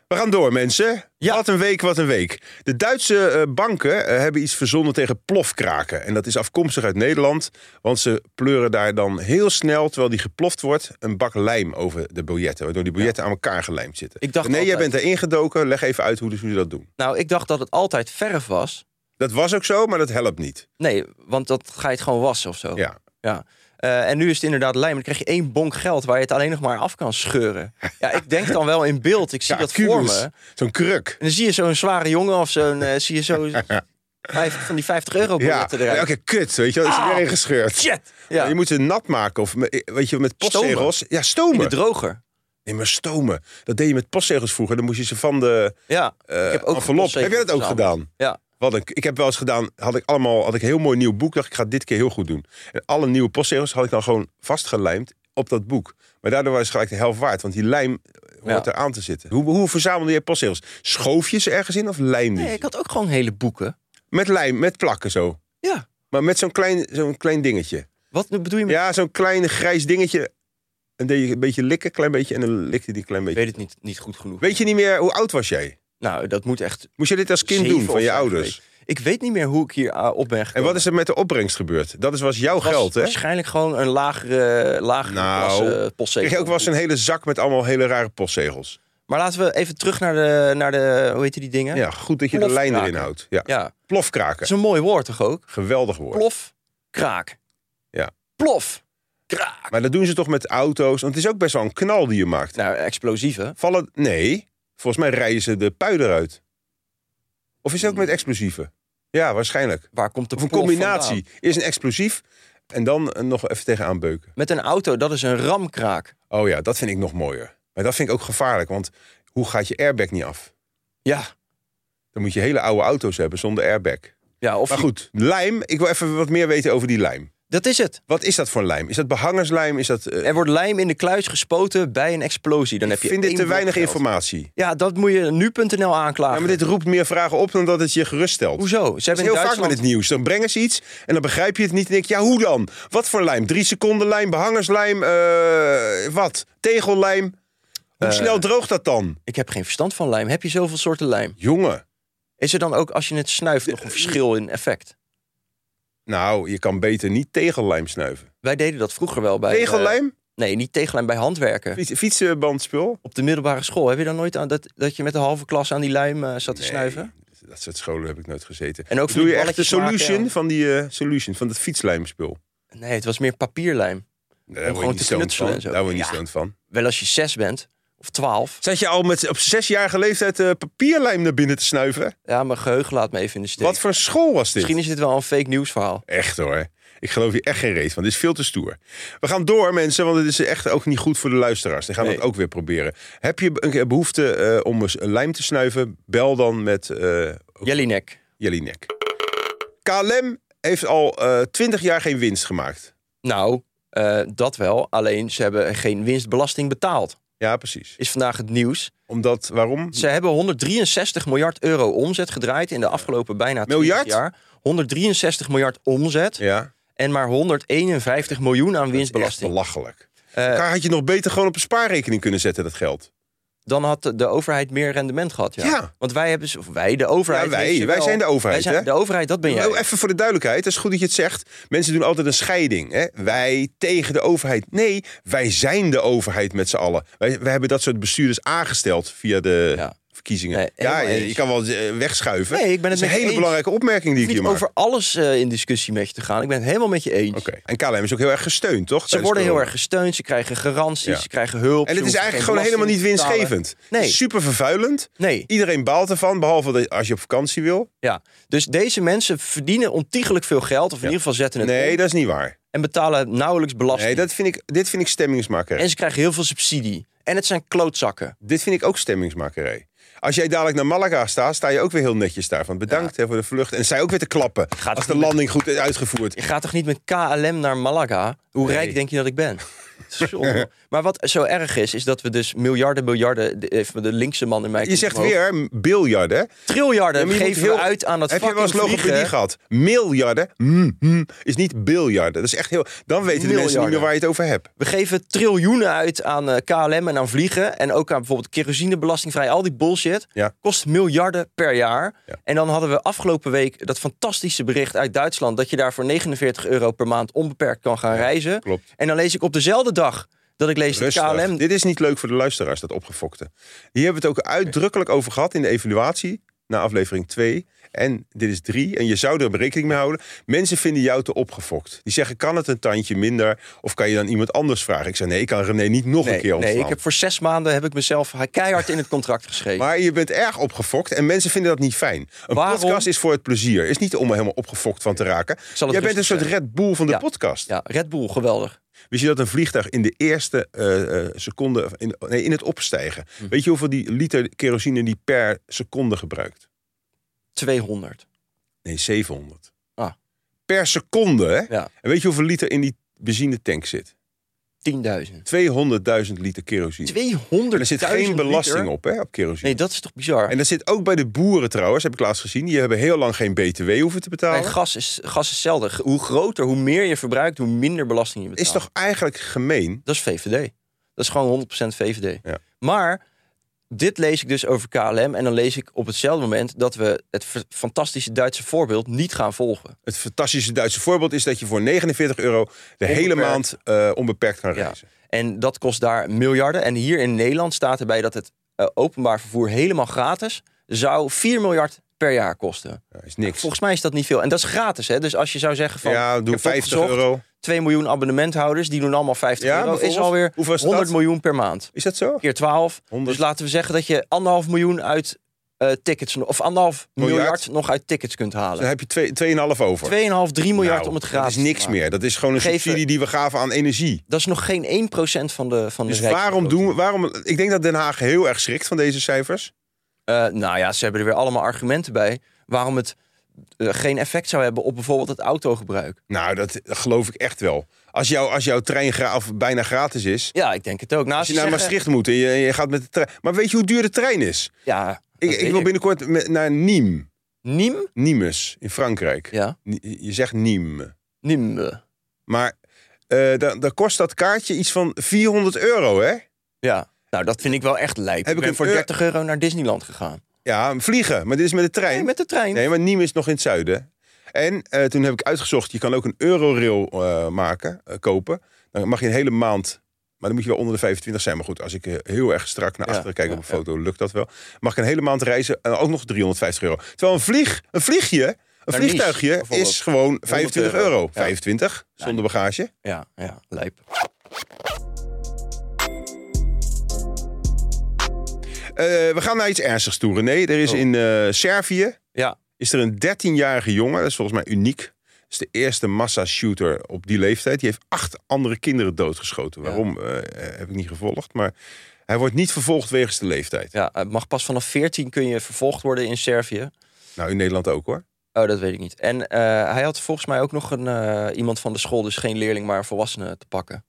S2: We gaan door, mensen. Wat een week, wat een week. De Duitse eh, banken eh, hebben iets verzonnen tegen plofkraken. En dat is afkomstig uit Nederland. Want ze pleuren daar dan heel snel, terwijl die geploft wordt... een bak lijm over de biljetten. Waardoor die biljetten aan elkaar gelijmd zitten.
S3: Ik dacht
S2: nee, jij
S3: altijd-
S2: bent erin gedoken. Leg even uit hoe, dus, hoe ze dat doen.
S3: Nou, ik dacht dat het altijd verf was.
S2: Dat was ook zo, maar dat helpt niet.
S3: Oh. Nee, want dat ga je het gewoon wassen of zo.
S2: Ja.
S3: Ja. Eh, en nu is het inderdaad lijm. Dan krijg je één bonk geld waar je het alleen nog maar af kan scheuren. Ja, ik denk dan wel in beeld. Ik zie
S2: Ja,
S3: dat voor me.
S2: kubus.
S3: En
S2: Zo'n kruk.
S3: dan zie je zo'n zware jongen of zo'n... eh, zie je zo vijf, van die 50 euro
S2: Ja,
S3: biljetten eruit. Ah.
S2: oké, kut, weet je wel. Is er weer ingescheurd.
S3: Shit!
S2: Ja.
S3: Ja,
S2: Je moet ze nat maken of met- weet je, met
S3: Stomen.
S2: postzegels. Ja,
S3: in de
S2: stomen.
S3: droger.
S2: Nee, maar stomen. Dat deed je met postzegels vroeger. Dan moest je ze van de
S3: Ja,
S2: eh
S3: ik heb ook
S2: envelop.
S3: postzegels
S2: Heb jij dat ook
S3: verzameld.
S2: gedaan?
S3: ja.
S2: Wat een, ik heb wel eens gedaan, had ik allemaal, had ik een heel mooi nieuw boek. Dacht ik, ik ga dit keer heel goed doen. En alle nieuwe postzegels had ik dan gewoon vastgelijmd op dat boek. Maar daardoor was het gelijk de helft waard, want die lijm eh, hoort
S3: Ja.
S2: er aan te zitten. Hoe, hoe verzamelde je postzegels? Schoof je ze ergens in of lijmde je
S3: Nee,
S2: ze?
S3: ik had ook gewoon hele boeken.
S2: Met lijm, met plakken zo.
S3: Ja.
S2: Maar met zo'n klein, zo'n klein dingetje.
S3: Wat bedoel je met...
S2: Ja, zo'n klein grijs dingetje. En deed je een beetje likken, klein beetje, en dan likte die een klein
S3: Ik
S2: beetje.
S3: weet het niet, niet goed genoeg.
S2: Weet je niet meer, hoe oud was jij?
S3: Nou, dat moet echt
S2: Moest je dit als kind
S3: zeven
S2: doen van
S3: of
S2: je
S3: zo
S2: ouders?
S3: geweest. Ik weet niet meer hoe ik hier ah, op ben
S2: En
S3: gekomen.
S2: wat is er met de opbrengst gebeurd? Dat is, was jouw
S3: was
S2: geld, hè?
S3: Waarschijnlijk gewoon een lagere, lagere
S2: Nou,
S3: klasse eh, postzegel.
S2: Kreeg je ook wel eens een hele zak met allemaal hele rare postzegels.
S3: Maar laten we even terug naar de, naar de hoe heet die dingen?
S2: Ja, goed dat je de
S3: Plofkraken.
S2: lijn erin houdt. Ja.
S3: ja. Dat
S2: Plofkraken.
S3: is een mooi woord toch ook?
S2: Geweldig woord.
S3: Plof, kraak.
S2: Ja.
S3: Plof, kraak.
S2: Maar dat doen ze toch met auto's? Want het is ook best wel een knal die je maakt.
S3: Nou, explosieven.
S2: Vallen... Nee, volgens mij rijden ze de pui eruit. Of is het ook met explosieven? Ja, waarschijnlijk.
S3: Waar komt de
S2: Of een
S3: plof
S2: combinatie.
S3: vandaan?
S2: Eerst een explosief en dan eh, nog even tegenaan beuken.
S3: Met een auto, dat is een ramkraak.
S2: Oh ja, dat vind ik nog mooier. Maar dat vind ik ook gevaarlijk, want hoe gaat je airbag niet af?
S3: Ja.
S2: Dan moet je hele oude auto's hebben zonder airbag.
S3: Ja, of
S2: Maar goed, lijm. Ik wil even wat meer weten over die lijm.
S3: dat is het.
S2: Wat is dat voor lijm? Is dat behangerslijm? Is dat, eh,
S3: Er wordt lijm in de kluis gespoten bij een explosie. Dan
S2: ik
S3: heb je
S2: vind dit
S3: één
S2: te
S3: blok
S2: weinig
S3: geld.
S2: informatie.
S3: Ja, dat moet je nu.nl aanklagen.
S2: Ja, maar dit roept meer vragen op dan dat het je geruststelt.
S3: Hoezo? Ze hebben
S2: Dat is heel vaak
S3: in
S2: met
S3: Duitsland-
S2: het nieuws. Dan brengen ze iets en dan begrijp je het niet. En denk je, ja, hoe dan? Wat voor lijm? Drie seconden lijm, behangerslijm, eh, wat? Tegellijm?
S3: Eh.
S2: Hoe snel droogt dat dan?
S3: Ik heb geen verstand van lijm. Heb je zoveel soorten lijm?
S2: Jongen,
S3: Is er dan ook, als je het snuift, nog een verschil in effect?
S2: nou, je kan beter niet tegellijm snuiven.
S3: Wij deden dat vroeger wel bij... eh,
S2: Tegellijm?
S3: nee, niet tegenlijn, bij handwerken.
S2: Fiets- Fietsenbandspul?
S3: Op de middelbare school. Heb je dan nooit aan dat, dat je met de halve klas aan die lijm eh, zat te
S2: Nee,
S3: snuiven?
S2: Dat soort scholen heb ik nooit gezeten.
S3: En ook van
S2: Doe
S3: die
S2: je echt de
S3: balletjes maken,
S2: solution
S3: ja.
S2: van die eh, solution van dat fietslijmspul?
S3: Nee, het was meer papierlijm.
S2: Nee,
S3: Om
S2: daar word
S3: gewoon
S2: je
S3: te
S2: niet stoned
S3: knutselen
S2: van.
S3: en zo.
S2: Daar word je niet
S3: Ja.
S2: stoned van.
S3: Wel als je zes bent, of twaalf.
S2: Zat je al met, op zesjarige leeftijd eh, papierlijm naar binnen te snuiven?
S3: Ja, mijn geheugen laat me even in de steek.
S2: Wat voor school was dit?
S3: Misschien is dit wel een fake nieuws verhaal.
S2: Echt hoor. Ik geloof hier echt geen reet van. Dit is veel te stoer. We gaan door mensen, want het is echt ook niet goed voor de luisteraars. Die gaan we
S3: Nee.
S2: het ook weer proberen. Heb je een keer behoefte eh, om eens een lijm te snuiven? Bel dan met eh
S3: Jellinek.
S2: Jelinek. KLM heeft al eh, twintig jaar geen winst gemaakt.
S3: Nou, eh, dat wel. Alleen ze hebben geen winstbelasting betaald.
S2: Ja, precies.
S3: Is vandaag het nieuws.
S2: Omdat, waarom?
S3: Ze hebben 163 miljard euro omzet gedraaid in de afgelopen bijna 20
S2: Miljard?
S3: jaar. 163 miljard omzet
S2: Ja,
S3: en maar 151 miljoen aan
S2: echt
S3: winstbelasting.
S2: belachelijk.
S3: Eh,
S2: Daar had je nog beter gewoon op een spaarrekening kunnen zetten, dat geld.
S3: dan had de- de overheid meer rendement gehad. Ja.
S2: Ja.
S3: Want wij hebben, ze- of wij, de overheid.
S2: Ja, wij.
S3: heeft ze
S2: Wij zijn de overheid,
S3: Wij zijn
S2: hè?
S3: de overheid, dat ben jij.
S2: Nou, even voor de duidelijkheid, het is goed dat je het zegt. Mensen doen altijd een scheiding. Hè? Wij tegen de overheid. Nee, wij zijn de overheid met z'n allen. Wij, wij hebben dat soort bestuurders aangesteld via de
S3: Ja.
S2: verkiezingen.
S3: Nee,
S2: ja,
S3: helemaal
S2: je,
S3: eens.
S2: je kan wel eh, wegschuiven.
S3: Nee, ik ben
S2: dat
S3: het
S2: is een
S3: met je
S2: hele
S3: eens.
S2: belangrijke opmerking die
S3: Ik
S2: ik
S3: hoef
S2: hier
S3: niet
S2: maak.
S3: over alles eh, in discussie met je te gaan. Ik ben het helemaal met je eens.
S2: Oké. En KLM is ook heel erg gesteund, toch?
S3: Ze
S2: Tijdens
S3: worden heel
S2: corona.
S3: erg gesteund, ze krijgen garanties,
S2: Ja.
S3: ze krijgen hulp.
S2: En
S3: ze
S2: het is
S3: hoeven
S2: eigenlijk
S3: geen
S2: gewoon helemaal niet
S3: belasting te betalen.
S2: winstgevend.
S3: Nee.
S2: Super vervuilend.
S3: Nee,
S2: Iedereen baalt ervan, behalve dat als je op vakantie wil.
S3: ja. Dus deze mensen verdienen ontiegelijk veel geld, of in ieder geval zetten het
S2: Nee,
S3: om
S2: dat is niet waar.
S3: en betalen nauwelijks belasting.
S2: Nee, dat vind ik, dit vind ik stemmingsmakerij.
S3: En ze krijgen heel veel subsidie. En het zijn klootzakken.
S2: Dit vind ik ook stemmingsmakerij. Als jij dadelijk naar Malaga staat, sta je ook weer heel netjes daar. Van bedankt hè, voor de vlucht. En zij ook weer te klappen.
S3: Gaat
S2: als
S3: het
S2: de
S3: niet-
S2: landing goed is
S3: Je
S2: uitgevoerd.
S3: gaat toch niet met KLM naar Malaga? Hoe
S2: Nee.
S3: rijk denk je dat ik ben? Zonde. maar wat zo erg is, is dat we dus miljarden, miljarden... de- Even de linkse man in mij...
S2: Je
S3: komt
S2: zegt
S3: omhoog.
S2: weer m- biljarden. Ja,
S3: Triljarden
S2: maar je moet
S3: geven
S2: heel-
S3: we Eh, uit aan dat
S2: Heb je wel eens
S3: fucking
S2: logopedie
S3: vliegen.
S2: gehad? Miljarden mm, mm, is niet biljarden. Dat is echt heel... Dan weten de mensen niet
S3: Miljarden.
S2: meer waar je het over hebt.
S3: We geven triljoenen uit aan eh, KLM en aan vliegen. En ook aan bijvoorbeeld kerosinebelastingvrij. Al die bullshit.
S2: Ja.
S3: Kost miljarden per jaar.
S2: Ja.
S3: En dan hadden we afgelopen week dat fantastische bericht uit Duitsland. Dat je daar voor 49 euro per maand onbeperkt kan gaan reizen.
S2: klopt.
S3: En dan lees ik op dezelfde dag dat ik lees dat
S2: Rustig.
S3: KLM...
S2: Dit is niet leuk voor de luisteraars, dat opgefokte. Hier hebben we het ook uitdrukkelijk over gehad in de evaluatie. Na aflevering 2. En dit is drie. En je zou er rekening mee houden. Mensen vinden jou te opgefokt. Die zeggen, kan het een tandje minder? Of kan je dan iemand anders vragen? Ik zei, nee, ik kan René niet nog een
S3: Nee,
S2: keer ontslaan.
S3: nee, ik heb voor zes maanden heb ik mezelf keihard in het contract geschreven.
S2: Maar je bent erg opgefokt en mensen vinden dat niet fijn. Een
S3: Waarom?
S2: podcast is voor het plezier. Is niet om er helemaal opgefokt van te raken.
S3: zal het
S2: Jij bent een
S3: rustig
S2: soort
S3: zijn.
S2: Red Bull van de
S3: Ja.
S2: podcast.
S3: Ja, Red Bull, geweldig.
S2: Wist je dat een vliegtuig in de eerste eh, eh, seconde, of in, nee, in het opstijgen.
S3: Hm.
S2: Weet je hoeveel die liter kerosine die per seconde gebruikt?
S3: 200.
S2: Nee, 700.
S3: Ah.
S2: Per seconde, hè?
S3: Ja,
S2: En weet je hoeveel liter in die benzinetank zit?
S3: 10.000.
S2: 200.000 liter kerosine.
S3: 200.
S2: er zit geen belasting op, hè, op kerosine.
S3: Nee, dat is toch bizar?
S2: En dat zit ook bij de boeren trouwens, heb ik laatst gezien. Die hebben heel lang geen BTW hoeven te betalen.
S3: Nee, gas, is, gas is hetzelfde. G- Hoe groter, hoe meer je verbruikt, hoe minder belasting je betaalt.
S2: is toch eigenlijk gemeen?
S3: Dat is VVD. Dat is gewoon 100% VVD.
S2: Ja.
S3: Maar dit lees ik dus over KLM. En dan lees ik op hetzelfde moment dat we het f- fantastische Duitse voorbeeld niet gaan volgen.
S2: Het fantastische Duitse voorbeeld is dat je voor 49 euro de hele maand eh, onbeperkt kan
S3: Ja.
S2: reizen.
S3: En dat kost daar miljarden. En hier in Nederland staat erbij dat het eh, openbaar vervoer helemaal gratis zou 4 miljard per jaar kosten.
S2: Ja, is niks.
S3: Volgens mij is dat niet veel. En dat is gratis. Hè? Dus als je zou zeggen van
S2: ja,
S3: ik heb
S2: doe 50
S3: opgezocht,
S2: euro.
S3: 2 miljoen abonnementhouders, die doen allemaal 50
S2: Ja,
S3: euro. Is
S2: bijvoorbeeld.
S3: alweer
S2: Hoeveel is
S3: 100
S2: dat?
S3: miljoen per maand.
S2: Is dat zo?
S3: Keer 12.
S2: 100.
S3: Dus laten we zeggen dat je anderhalf miljoen uit eh, tickets... no- of anderhalf miljard.
S2: Miljard.
S3: nog uit tickets kunt
S2: Dan
S3: halen.
S2: heb je twee- 2,5 over.
S3: 2,5, 3 miljard
S2: Nou,
S3: om het gratis
S2: Dat is niks
S3: te maken.
S2: meer. Dat is gewoon een
S3: Geven-
S2: subsidie die we gaven aan energie.
S3: Dat is nog geen 1% van de van
S2: Dus
S3: de
S2: waarom doen we,
S3: we...
S2: waarom, ik denk dat Den Haag heel erg schrikt van deze cijfers.
S3: nou ja, ze hebben er weer allemaal argumenten bij... waarom het eh, geen effect zou hebben op bijvoorbeeld het autogebruik.
S2: Nou, dat geloof ik echt wel. Als, jou, als jouw trein gra- of bijna gratis is,
S3: Ja, ik denk het ook. Nou,
S2: als je
S3: ze
S2: naar
S3: zeggen-
S2: Maastricht moet en je, je gaat met de trein. Maar weet je hoe duur de trein is?
S3: Ja, dat
S2: Ik,
S3: weet
S2: ik wil binnenkort met- naar Nîmes.
S3: Niem?
S2: Nimes in Frankrijk.
S3: Ja,
S2: Ni- Je zegt Nîmes.
S3: Niem. eh,
S2: Maar eh dan, dan kost dat kaartje iets van 400 euro, hè?
S3: Ja. Nou, dat vind ik wel echt lijp.
S2: Heb
S3: ik
S2: ik
S3: ben
S2: een
S3: voor
S2: euro-
S3: 30 euro naar Disneyland gegaan.
S2: Ja, vliegen. Maar dit is met de
S3: Nee,
S2: trein.
S3: met de trein.
S2: Nee, maar Nîmes is nog in het zuiden. En eh, toen heb ik uitgezocht, je kan ook een eurorail eh, maken, eh, kopen. Dan mag je een hele maand, maar dan moet je wel onder de 25 zijn. Maar goed, als ik eh, heel erg strak naar
S3: Ja,
S2: achteren kijk
S3: ja,
S2: op een foto, lukt dat wel. Mag ik een hele maand reizen en ook nog 350 euro. Terwijl een, vlieg, een vliegje, een
S3: Naar Nice,
S2: vliegtuigje
S3: bijvoorbeeld.
S2: is gewoon 25 euro.
S3: euro. Ja.
S2: 25, zonder bagage.
S3: Ja, ja, lijp.
S2: Eh, we gaan naar iets ernstigs toe, René. Er is
S3: Oh.
S2: in eh, Servië
S3: Ja.
S2: is er een 13-jarige jongen. Dat is volgens mij uniek. Dat is de eerste massashooter op die leeftijd. Die heeft acht andere kinderen doodgeschoten.
S3: Ja.
S2: Waarom eh, eh, heb ik niet gevolgd. Maar hij wordt niet vervolgd wegens de leeftijd.
S3: Ja, het mag pas vanaf 14 kun je vervolgd worden in Servië.
S2: Nou, in Nederland ook hoor.
S3: Oh, dat weet ik niet. En eh, hij had volgens mij ook nog een, eh, iemand van de school, dus geen leerling, maar een volwassene te pakken.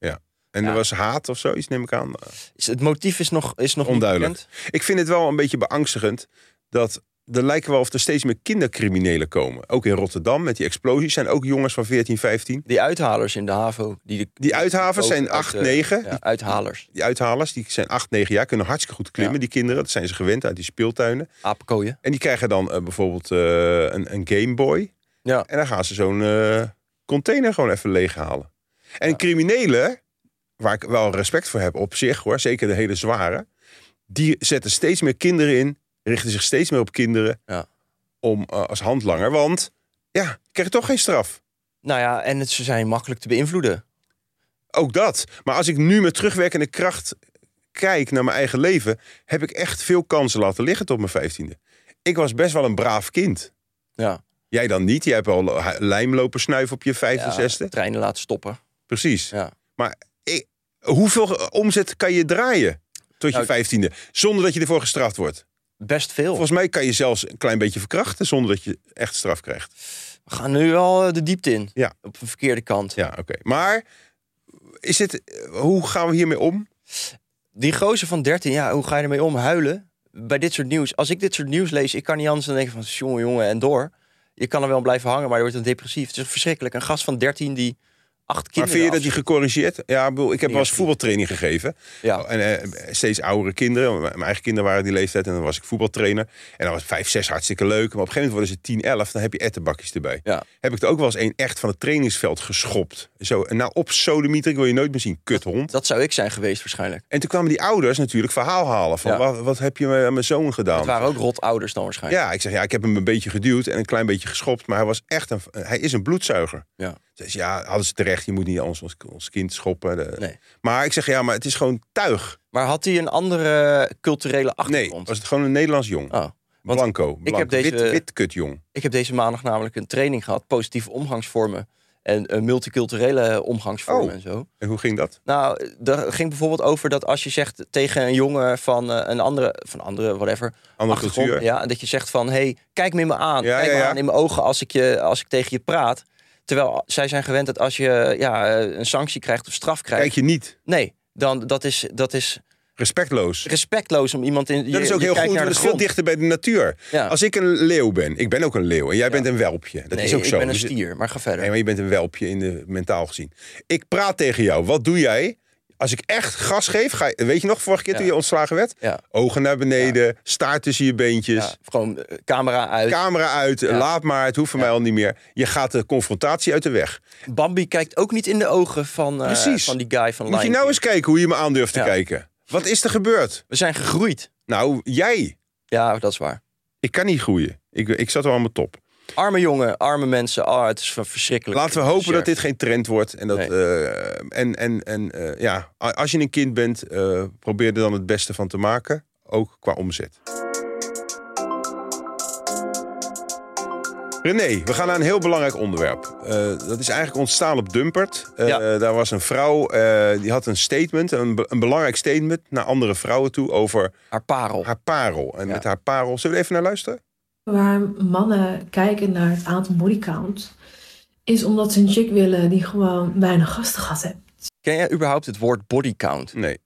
S2: En
S3: Ja.
S2: er was haat of zoiets, neem ik aan.
S3: Is, het motief is nog, is nog niet
S2: Onduidelijk.
S3: bekend.
S2: Ik vind het wel een beetje beangstigend dat er lijken wel of er steeds meer kindercriminelen komen. Ook in Rotterdam met die explosies zijn ook jongens van 14, 15.
S3: Die uithalers in de HAVO. Die, de-
S2: Die uithavers
S3: ook
S2: zijn
S3: uit,
S2: 8,
S3: eh,
S2: 9.
S3: ja, uithalers.
S2: die uithalers, die zijn 8, 9 jaar, kunnen hartstikke goed klimmen,
S3: Ja.
S2: die kinderen. Dat zijn ze gewend uit die speeltuinen.
S3: Apenkooien.
S2: En die krijgen dan eh, bijvoorbeeld eh, een, een Game Boy.
S3: Ja.
S2: En dan gaan ze zo'n eh, container gewoon even leeghalen. En criminelen, waar ik wel respect voor heb op zich hoor, zeker de hele zware, die zetten steeds meer kinderen in, richten zich steeds meer op kinderen
S3: Ja.
S2: om, eh, als handlanger. Want ja, krijg je toch geen straf.
S3: Nou ja, en het, ze zijn makkelijk te beïnvloeden.
S2: Ook dat. Maar als ik nu met terugwerkende kracht kijk naar mijn eigen leven, heb ik echt veel kansen laten liggen tot mijn vijftiende. Ik was best wel een braaf kind.
S3: Ja.
S2: Jij dan niet. Jij hebt al lo- lijm lopen snuiven op je vijfde,
S3: Ja,
S2: zesde.
S3: Treinen laten stoppen.
S2: Precies.
S3: Ja.
S2: Maar ik- hoeveel eh, omzet kan je draaien tot je
S3: Nou, Oh.
S2: vijftiende zonder dat je ervoor gestraft wordt?
S3: Best veel.
S2: Volgens mij kan je zelfs een klein beetje verkrachten zonder dat je echt straf krijgt.
S3: We gaan nu wel eh, de diepte in.
S2: Ja.
S3: Op de verkeerde kant.
S2: Ja, oké. Maar is het, eh, hoe gaan we hiermee om?
S3: Die gozer van 13, ja, hoe ga je ermee om? Huilen? Bij dit soort nieuws. Als ik dit soort nieuws lees, ik kan niet anders dan denken van... jongen, jongen, en door. Je kan er wel blijven hangen, maar je wordt dan depressief. Het is verschrikkelijk. Een gast van 13 die acht kinderen.
S2: Maar vind je dat die
S3: afschiet.
S2: gecorrigeerd? Ja, ik, bedoel, ik heb wel eens
S3: Ja.
S2: voetbaltraining gegeven.
S3: Ja.
S2: En eh, steeds oudere kinderen. Mijn mijn eigen kinderen waren die leeftijd. En dan was ik voetbaltrainer. En dan was vijf, zes hartstikke leuk. Maar op een gegeven moment worden ze 10, 11. Dan heb je ettenbakjes erbij.
S3: Ja.
S2: Heb ik er ook wel eens één echt van het trainingsveld geschopt. Zo, en nou op sodemieter. Ik wil je nooit meer zien, kuthond.
S3: Dat zou ik zijn geweest waarschijnlijk.
S2: En toen kwamen die ouders natuurlijk verhaal halen. Van
S3: Ja.
S2: wat, wat heb je met mijn zoon gedaan?
S3: Het waren ook rot ouders dan waarschijnlijk.
S2: Ja, ik zeg ja, ik heb hem een beetje geduwd en een klein beetje geschopt. Maar hij was echt een, hij is een bloedzuiger.
S3: Ja.
S2: Dus ja, hadden ze terecht. Je moet niet anders ons, ons kind schoppen. De-
S3: Nee.
S2: Maar ik zeg ja, maar het is gewoon tuig.
S3: Maar had hij een andere culturele
S2: Nee,
S3: achtergrond?
S2: was het gewoon een Nederlands jong.
S3: Oh. Want
S2: blanco. blanco.
S3: heb deze-
S2: wit, wit kut jong.
S3: Ik heb deze maandag namelijk een training gehad, positieve omgangsvormen en een multiculturele omgangsvormen
S2: Oh.
S3: en zo.
S2: En hoe ging dat?
S3: Nou, daar ging bijvoorbeeld over dat als je zegt tegen een jongen van eh, een andere, van andere, whatever,
S2: Andere
S3: achtergrond,
S2: cultuur.
S3: ja, dat je zegt van, hey, kijk me in me aan,
S2: Ja,
S3: kijk
S2: ja,
S3: me
S2: ja.
S3: aan in mijn ogen als ik je, als ik tegen je praat. Terwijl zij zijn gewend dat als je ja, eh, een sanctie krijgt of straf krijgt,
S2: Kijk je niet.
S3: nee, dan dat is dat is
S2: Respectloos.
S3: respectloos om iemand in je
S2: dat is ook
S3: je
S2: heel goed, want
S3: kijkt naar
S2: dat
S3: de
S2: is veel
S3: grond.
S2: dichter bij de natuur.
S3: Ja.
S2: Als ik een leeuw ben, ik ben ook een leeuw en jij bent een welpje. Dat
S3: nee,
S2: is ook
S3: ik
S2: zo.
S3: ben een
S2: Dus-
S3: stier, maar ga verder.
S2: Nee, maar je bent een welpje in de mentaal gezien. Ik praat tegen jou. Wat doe jij? Als ik echt gas geef, ga, je- weet je nog vorige keer
S3: Ja.
S2: toen je ontslagen werd?
S3: Ja.
S2: Ogen naar beneden, staart tussen je beentjes,
S3: Ja, gewoon eh, camera uit.
S2: camera uit, laat maar, het hoeft voor mij al niet meer. Je gaat de confrontatie uit de weg.
S3: Bambi kijkt ook niet in de ogen van, eh,
S2: Precies.
S3: van die guy van
S2: Moet je
S3: Lion
S2: nou
S3: King.
S2: eens kijken hoe je me aan durft te
S3: Ja.
S2: kijken. Wat is er gebeurd?
S3: We zijn gegroeid.
S2: Nou, jij.
S3: Ja, dat is waar.
S2: Ik kan niet groeien. Ik, ik zat al aan mijn top.
S3: Arme jongen, arme mensen. Ah, het is ver- verschrikkelijk.
S2: Laten we hopen dat
S3: Share.
S2: dit geen trend wordt. En, dat,
S3: Nee.
S2: eh, en, en, en eh, ja, a- als je een kind bent, eh, probeer er dan het beste van te maken. Ook qua omzet. René, we gaan naar een heel belangrijk onderwerp. Eh, dat is eigenlijk ontstaan op Dumpert. Eh,
S3: Ja.
S2: Daar was een vrouw, eh, die had een statement, een, be- een belangrijk statement... naar andere vrouwen toe over
S3: Haar parel.
S2: haar parel. En
S3: Oh. Ja.
S2: met haar parel... Zullen we even naar luisteren?
S5: Waar mannen kijken naar het aantal bodycount, is omdat ze een chick willen die gewoon weinig gasten gehad heeft.
S3: Ken jij überhaupt het woord bodycount?
S2: Nee.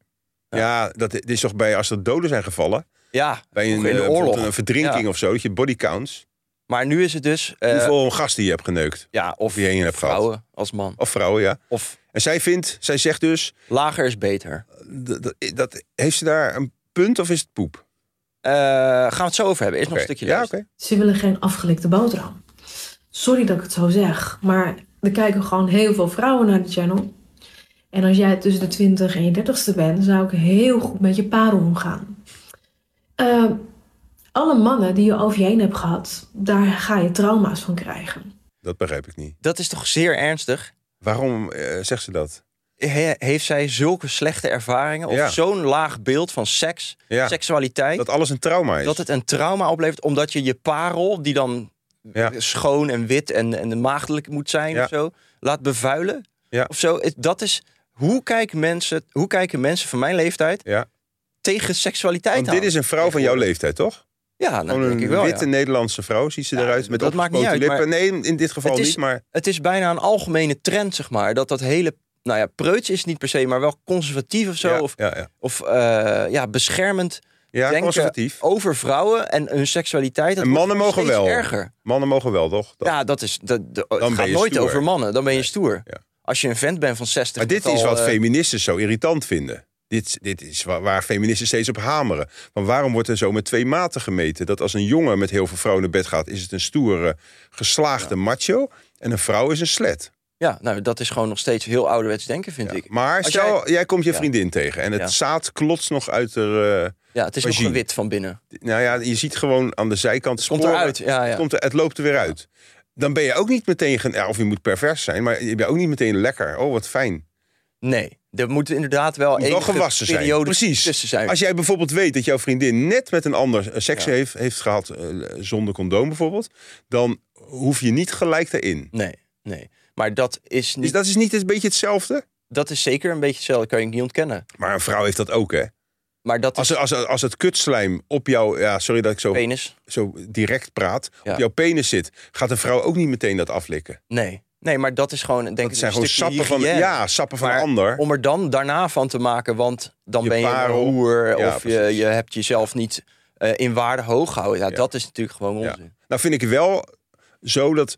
S2: Ja, dat dit is toch bij als er doden zijn gevallen...
S3: Ja,
S2: Bij een,
S3: vroeger in
S2: eh,
S3: de
S2: bijvoorbeeld
S3: oorlog.
S2: een verdrinking
S3: Ja.
S2: of zo, dat je bodycounts.
S3: Maar nu is het dus... eh,
S2: hoeveel gasten je hebt geneukt.
S3: ja, of
S2: of je heen hebt
S3: vrouwen als man.
S2: Of vrouwen, ja.
S3: Of
S2: En zij vindt, zij zegt dus,
S3: lager is beter.
S2: dat, dat, dat- heeft ze daar een punt of is het poep?
S3: Eh, gaan we het zo over hebben. Is nog
S2: Oké.
S3: een stukje
S2: ja,
S3: luisteren.
S2: oké.
S5: Ze willen geen afgelikte boterham. Sorry dat ik het zo zeg, maar er kijken gewoon heel veel vrouwen naar de channel. En als jij tussen de 20 en je 30ste bent, zou ik heel goed met je parel omgaan. Eh, alle mannen die je over je heen hebt gehad, daar ga je trauma's van krijgen.
S2: Dat begrijp ik niet.
S3: Dat is toch zeer ernstig?
S2: Waarom eh, zegt ze dat?
S3: He- heeft zij zulke slechte ervaringen? Of
S2: Ja.
S3: zo'n laag beeld van seks,
S2: Ja.
S3: seksualiteit?
S2: Dat alles een trauma is.
S3: Dat het een trauma oplevert omdat je je parel, die dan
S2: Ja.
S3: schoon en wit en, en maagdelijk moet zijn
S2: Ja.
S3: of zo, laat bevuilen.
S2: Ja.
S3: Of zo. Het- Dat is, hoe, kijken mensen, hoe kijken mensen van mijn leeftijd
S2: Ja.
S3: tegen seksualiteit
S2: Want dit
S3: aan?
S2: is een vrouw van jouw leeftijd, toch?
S3: Ja, nou,
S2: Gewoon
S3: denk ik
S2: een
S3: wel. ja.
S2: witte Nederlandse vrouw ziet ze
S3: Ja,
S2: eruit met
S3: dat maakt niet
S2: opgespoten
S3: uit,
S2: lippen. Nee, in dit geval
S3: Het is-
S2: niet, maar
S3: Het is bijna een algemene trend, zeg maar. Dat dat hele, nou ja, preuts is het niet per se, maar wel conservatief of zo.
S2: ja,
S3: Of,
S2: ja, ja.
S3: of eh, ja, beschermend
S2: ja
S3: denken
S2: conservatief.
S3: over vrouwen en hun seksualiteit. Dat
S2: En
S3: wordt
S2: mannen mogen
S3: steeds
S2: wel.
S3: erger.
S2: Mannen mogen wel, toch? Dat-
S3: Ja, dat is. Dat, dat- het
S2: ben
S3: gaat
S2: je
S3: nooit
S2: stoer.
S3: over mannen. Dan ben je stoer.
S2: Ja.
S3: Als je een vent bent van 60.
S2: Maar dit
S3: met
S2: is
S3: al,
S2: wat
S3: eh,
S2: feministen zo irritant vinden. Dit, dit is wa- waar, feministen steeds op hameren. Want waarom wordt er zo met twee maten gemeten? Dat als een jongen met heel veel vrouwen naar bed gaat, is het een stoere, geslaagde macho. En een vrouw is een slet.
S3: Ja, nou, dat is gewoon nog steeds heel ouderwets denken, vind ik.
S2: Maar
S3: Als
S2: stel, jij... komt je
S3: Ja.
S2: vriendin tegen en het
S3: Ja.
S2: zaad klotst nog uit haar. eh,
S3: Ja, het is nog
S2: Vagine.
S3: wit van binnen.
S2: nou ja, je ziet gewoon aan de zijkant.
S3: Het komt
S2: sporen.
S3: eruit. Ja,
S2: Het
S3: ja.
S2: komt er, het loopt er weer uit. Dan ben je ook niet meteen, gen- ja, of je moet pervers zijn, maar je bent ook niet meteen lekker. Oh, wat fijn.
S3: Nee, er moet inderdaad wel
S2: moet wel
S3: een
S2: gewassen zijn.
S3: periode
S2: Precies.
S3: tussen zijn.
S2: Als jij bijvoorbeeld weet dat jouw vriendin net met een ander eh, seks
S3: Ja.
S2: heeft, heeft gehad eh, zonder condoom bijvoorbeeld, dan hoef je niet gelijk daarin.
S3: Nee, nee. Maar dat is, niet,
S2: Dus
S3: dat...
S2: dat is niet een beetje hetzelfde.
S3: is zeker een beetje hetzelfde. kan je niet ontkennen.
S2: Maar een vrouw heeft dat ook, hè?
S3: Maar dat
S2: Als,
S3: is
S2: als, als het kutslijm op jouw, ja, sorry dat ik zo,
S3: penis.
S2: zo direct praat,
S3: Ja.
S2: op jouw penis zit, gaat een vrouw ook niet meteen dat aflikken.
S3: Nee. Nee, maar dat is gewoon, denk ik,
S2: Het zijn
S3: een
S2: gewoon
S3: stukje
S2: sappen van,
S3: hygiëne.
S2: ja, sappen van
S3: Maar
S2: een ander.
S3: Om er dan daarna van te maken, want dan
S2: Je
S3: ben je
S2: parel.
S3: een roer
S2: Ja,
S3: of je,
S2: precies.
S3: je hebt jezelf niet eh,
S2: Nou
S3: in waarde hoog gehouden. Ja, dat is natuurlijk gewoon
S2: Ja.
S3: onzin.
S2: Nou vind ik wel zo dat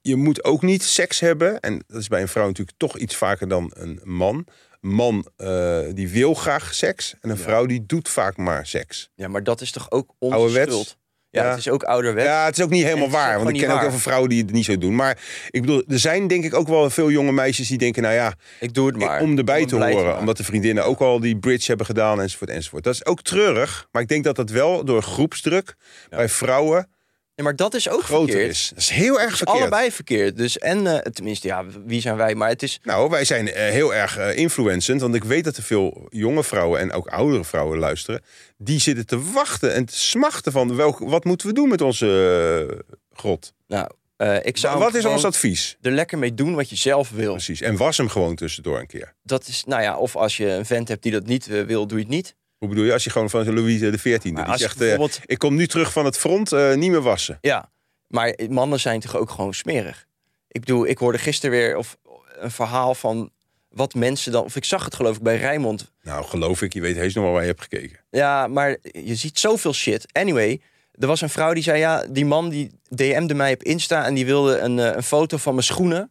S2: je moet ook niet seks hebben. En dat is bij een vrouw natuurlijk toch iets vaker dan een man. Een man eh, die wil graag seks. En een vrouw die doet vaak maar seks.
S3: Ja, maar dat is toch ook onze
S2: Ouderwets.
S3: schuld? Ja,
S2: Ja.
S3: het is ook ouderwets.
S2: Ja, het is ook niet helemaal
S3: Het is ook
S2: waar.
S3: gewoon
S2: Want ik
S3: niet
S2: ken ook
S3: waar.
S2: heel veel vrouwen die het niet zo doen. Maar ik bedoel, er zijn denk ik ook wel veel jonge meisjes die denken... nou ja,
S3: ik doe het maar.
S2: om erbij
S3: het
S2: te
S3: blij
S2: horen.
S3: maken.
S2: omdat de vriendinnen ook al die bridge hebben gedaan enzovoort enzovoort. Dat is ook treurig. Maar ik denk dat dat wel door groepsdruk bij vrouwen
S3: Ja, maar dat is ook
S2: groter
S3: verkeerd.
S2: is. Dat is heel erg
S3: Het is
S2: verkeerd.
S3: allebei verkeerd. Dus en, eh, tenminste, ja, wie zijn wij? Maar het is,
S2: Nou, wij zijn eh, heel erg eh influencend. Want ik weet dat er veel jonge vrouwen en ook oudere vrouwen luisteren. Die zitten te wachten en te smachten van welk, wat moeten we doen met onze eh, grot.
S3: nou, eh, ik zou
S2: wat is
S3: gewoon
S2: ons advies?
S3: er lekker mee doen wat je zelf wil.
S2: Precies. En was hem gewoon tussendoor een keer.
S3: Dat is, nou ja, of als je een vent hebt die dat niet eh, wil, doe je het niet.
S2: Hoe bedoel je, als je gewoon van zo'n Louis de XIV.
S3: Maar
S2: Die
S3: als je
S2: zegt, eh,
S3: bijvoorbeeld-
S2: ik kom nu terug van het front, eh, niet meer wassen.
S3: Ja, maar mannen zijn toch ook gewoon smerig. Ik bedoel, ik hoorde gisteren weer of, een verhaal van wat mensen dan... Of ik zag het geloof ik bij Rijmond.
S2: Nou, geloof ik, je weet heus nog wel waar je hebt gekeken.
S3: Ja, maar je ziet zoveel shit. Anyway, er was een vrouw die zei: Ja, die man die DM'de mij op Insta en die wilde een, eh, een foto van mijn schoenen.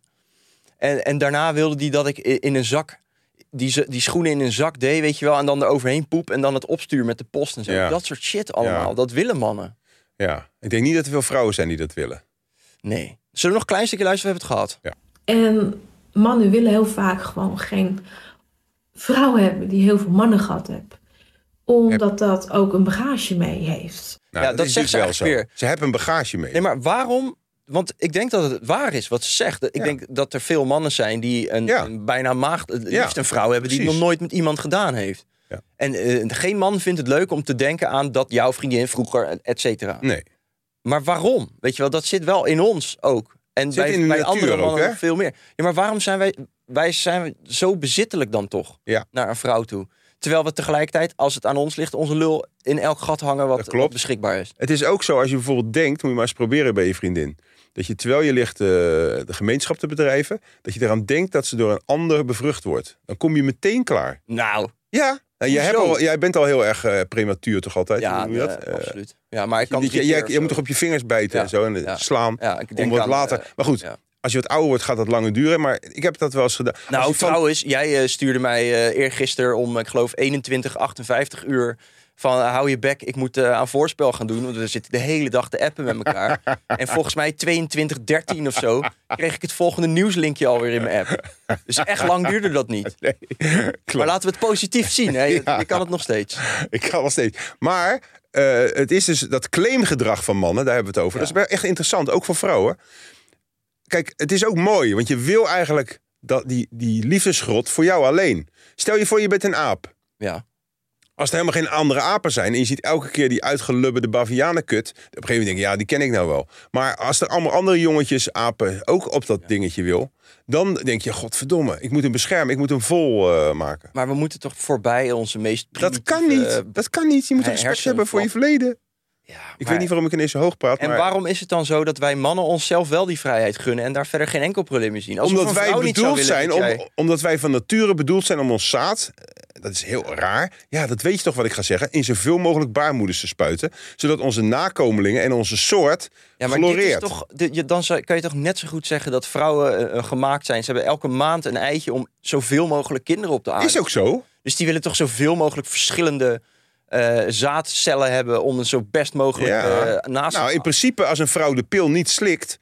S3: En, en daarna wilde die dat ik i- in een zak, die, ze- die schoenen in een zak deed, weet je wel. En dan eroverheen poep en dan het opstuur met de post en zo.
S2: Ja.
S3: Dat soort shit allemaal.
S2: Ja.
S3: Dat willen mannen.
S2: Ja, ik denk niet dat er veel vrouwen zijn die dat willen.
S3: Nee. Zullen we nog een klein stukje luisteren? We hebben het gehad.
S5: En mannen willen heel vaak gewoon geen vrouw hebben die heel veel mannen gehad hebben. Omdat dat ook een bagage mee heeft.
S2: Nou,
S3: Ja, dat
S2: is
S3: zegt ze
S2: natuurlijk
S3: eigenlijk
S2: Ze hebben een bagage mee.
S3: Nee, maar waarom? Want ik denk dat het waar is wat ze zegt. Ik
S2: Ja.
S3: denk dat er veel mannen zijn die een,
S2: Ja.
S3: een bijna maagd, het
S2: Ja,
S3: liefst een vrouw hebben die het nog
S2: precies.
S3: nooit met iemand gedaan heeft.
S2: Ja.
S3: En eh, geen man vindt het leuk om te denken aan dat jouw vriendin vroeger, et cetera.
S2: nee.
S3: Maar waarom? Weet je wel, dat zit wel in ons ook. En
S2: Zit
S3: bij,
S2: in de
S3: bij
S2: natuur
S3: andere
S2: ook,
S3: mannen
S2: hè?
S3: veel meer. Ja, maar waarom zijn wij, wij zijn zo bezittelijk dan toch
S2: Ja.
S3: naar een vrouw toe? Terwijl we tegelijkertijd, als het aan ons ligt, onze lul in elk gat hangen
S2: Dat
S3: wat,
S2: klopt.
S3: wat beschikbaar is.
S2: Het is ook zo, als je bijvoorbeeld denkt, moet je maar eens proberen bij je vriendin. Dat je terwijl je ligt eh, de gemeenschap te bedrijven, dat je eraan denkt dat ze door een ander bevrucht wordt. Dan kom je meteen klaar.
S3: Nou,
S2: Ja. Nou, jij, hebt
S3: Hoezo?
S2: al, jij bent al heel erg eh, prematuur toch altijd? Hoe
S3: ja,
S2: noem je dat?
S3: eh,
S2: Eh,
S3: absoluut. Ja, maar ik kan
S2: dat
S3: drie
S2: je, jij,
S3: keer
S2: jij moet
S3: of
S2: toch
S3: zo.
S2: op je vingers bijten
S3: Ja,
S2: en zo en eh,
S3: ja.
S2: slaan.
S3: Ja, ik
S2: om
S3: denk
S2: wat
S3: aan,
S2: later.
S3: eh,
S2: maar goed,
S3: ja.
S2: als je wat ouder wordt, gaat dat langer duren. Maar ik heb dat wel eens gedaan. Als
S3: Nou,
S2: je van-
S3: trouwens, jij eh, stuurde mij eh eergisteren om, ik geloof, 21, 58 uur van eh, hou je bek, ik moet eh, aan voorspel gaan doen. Want we zitten de hele dag te appen met elkaar. en volgens mij 22, 13 of zo kreeg ik het volgende nieuwslinkje alweer in mijn app. Dus echt lang duurde dat niet. Maar
S2: Klopt.
S3: laten we het positief zien. Hè? Je, je kan het nog steeds.
S2: Ik kan wel steeds. Maar eh, het is dus dat claimgedrag van mannen, daar hebben we het over. Dat is wel echt interessant, ook voor vrouwen. Kijk, het is ook mooi, want je wil eigenlijk dat die, die liefdesgrot voor jou alleen. Stel je voor, je bent een aap.
S3: Ja.
S2: Als er helemaal geen andere apen zijn en je ziet elke keer die uitgelubberde bavianenkut. Op een gegeven moment denk je, ja, die ken ik nou wel. Maar als er allemaal andere jongetjes, apen, ook op dat dingetje wil. Dan denk je, godverdomme, ik moet hem beschermen, ik moet hem vol eh, maken.
S3: Maar we moeten toch voorbij onze meest
S2: Dat kan
S3: primitieve,
S2: niet, dat kan niet. Je moet
S3: her-
S2: respect hebben voor je
S3: hersenflap.
S2: verleden.
S3: Ja,
S2: Ik
S3: maar-
S2: weet niet waarom ik ineens zo hoog praat.
S3: En
S2: maar
S3: waarom is het dan zo dat wij mannen onszelf wel die vrijheid gunnen en daar verder geen enkel probleem in zien? Alsof
S2: omdat
S3: een
S2: wij
S3: vrouw niet zou
S2: bedoeld zijn,
S3: willen dat jij-
S2: om, omdat wij van nature bedoeld zijn om ons zaad. eh, Dat is heel raar. Ja, dat weet je toch wat ik ga zeggen. In zoveel mogelijk baarmoeders te spuiten. Zodat onze nakomelingen en onze soort
S3: Ja, maar dit is
S2: floreert.
S3: toch, dit- je- dan zou- kan je toch net zo goed zeggen dat vrouwen eh, eh, gemaakt zijn. Ze hebben elke maand een eitje om zoveel mogelijk kinderen op te aarden.
S2: Is ook zo.
S3: Dus die willen toch zoveel mogelijk verschillende eh, zaadcellen hebben om een zo best mogelijk
S2: Ja.
S3: eh, naast
S2: Nou, in principe, als een vrouw de pil niet slikt.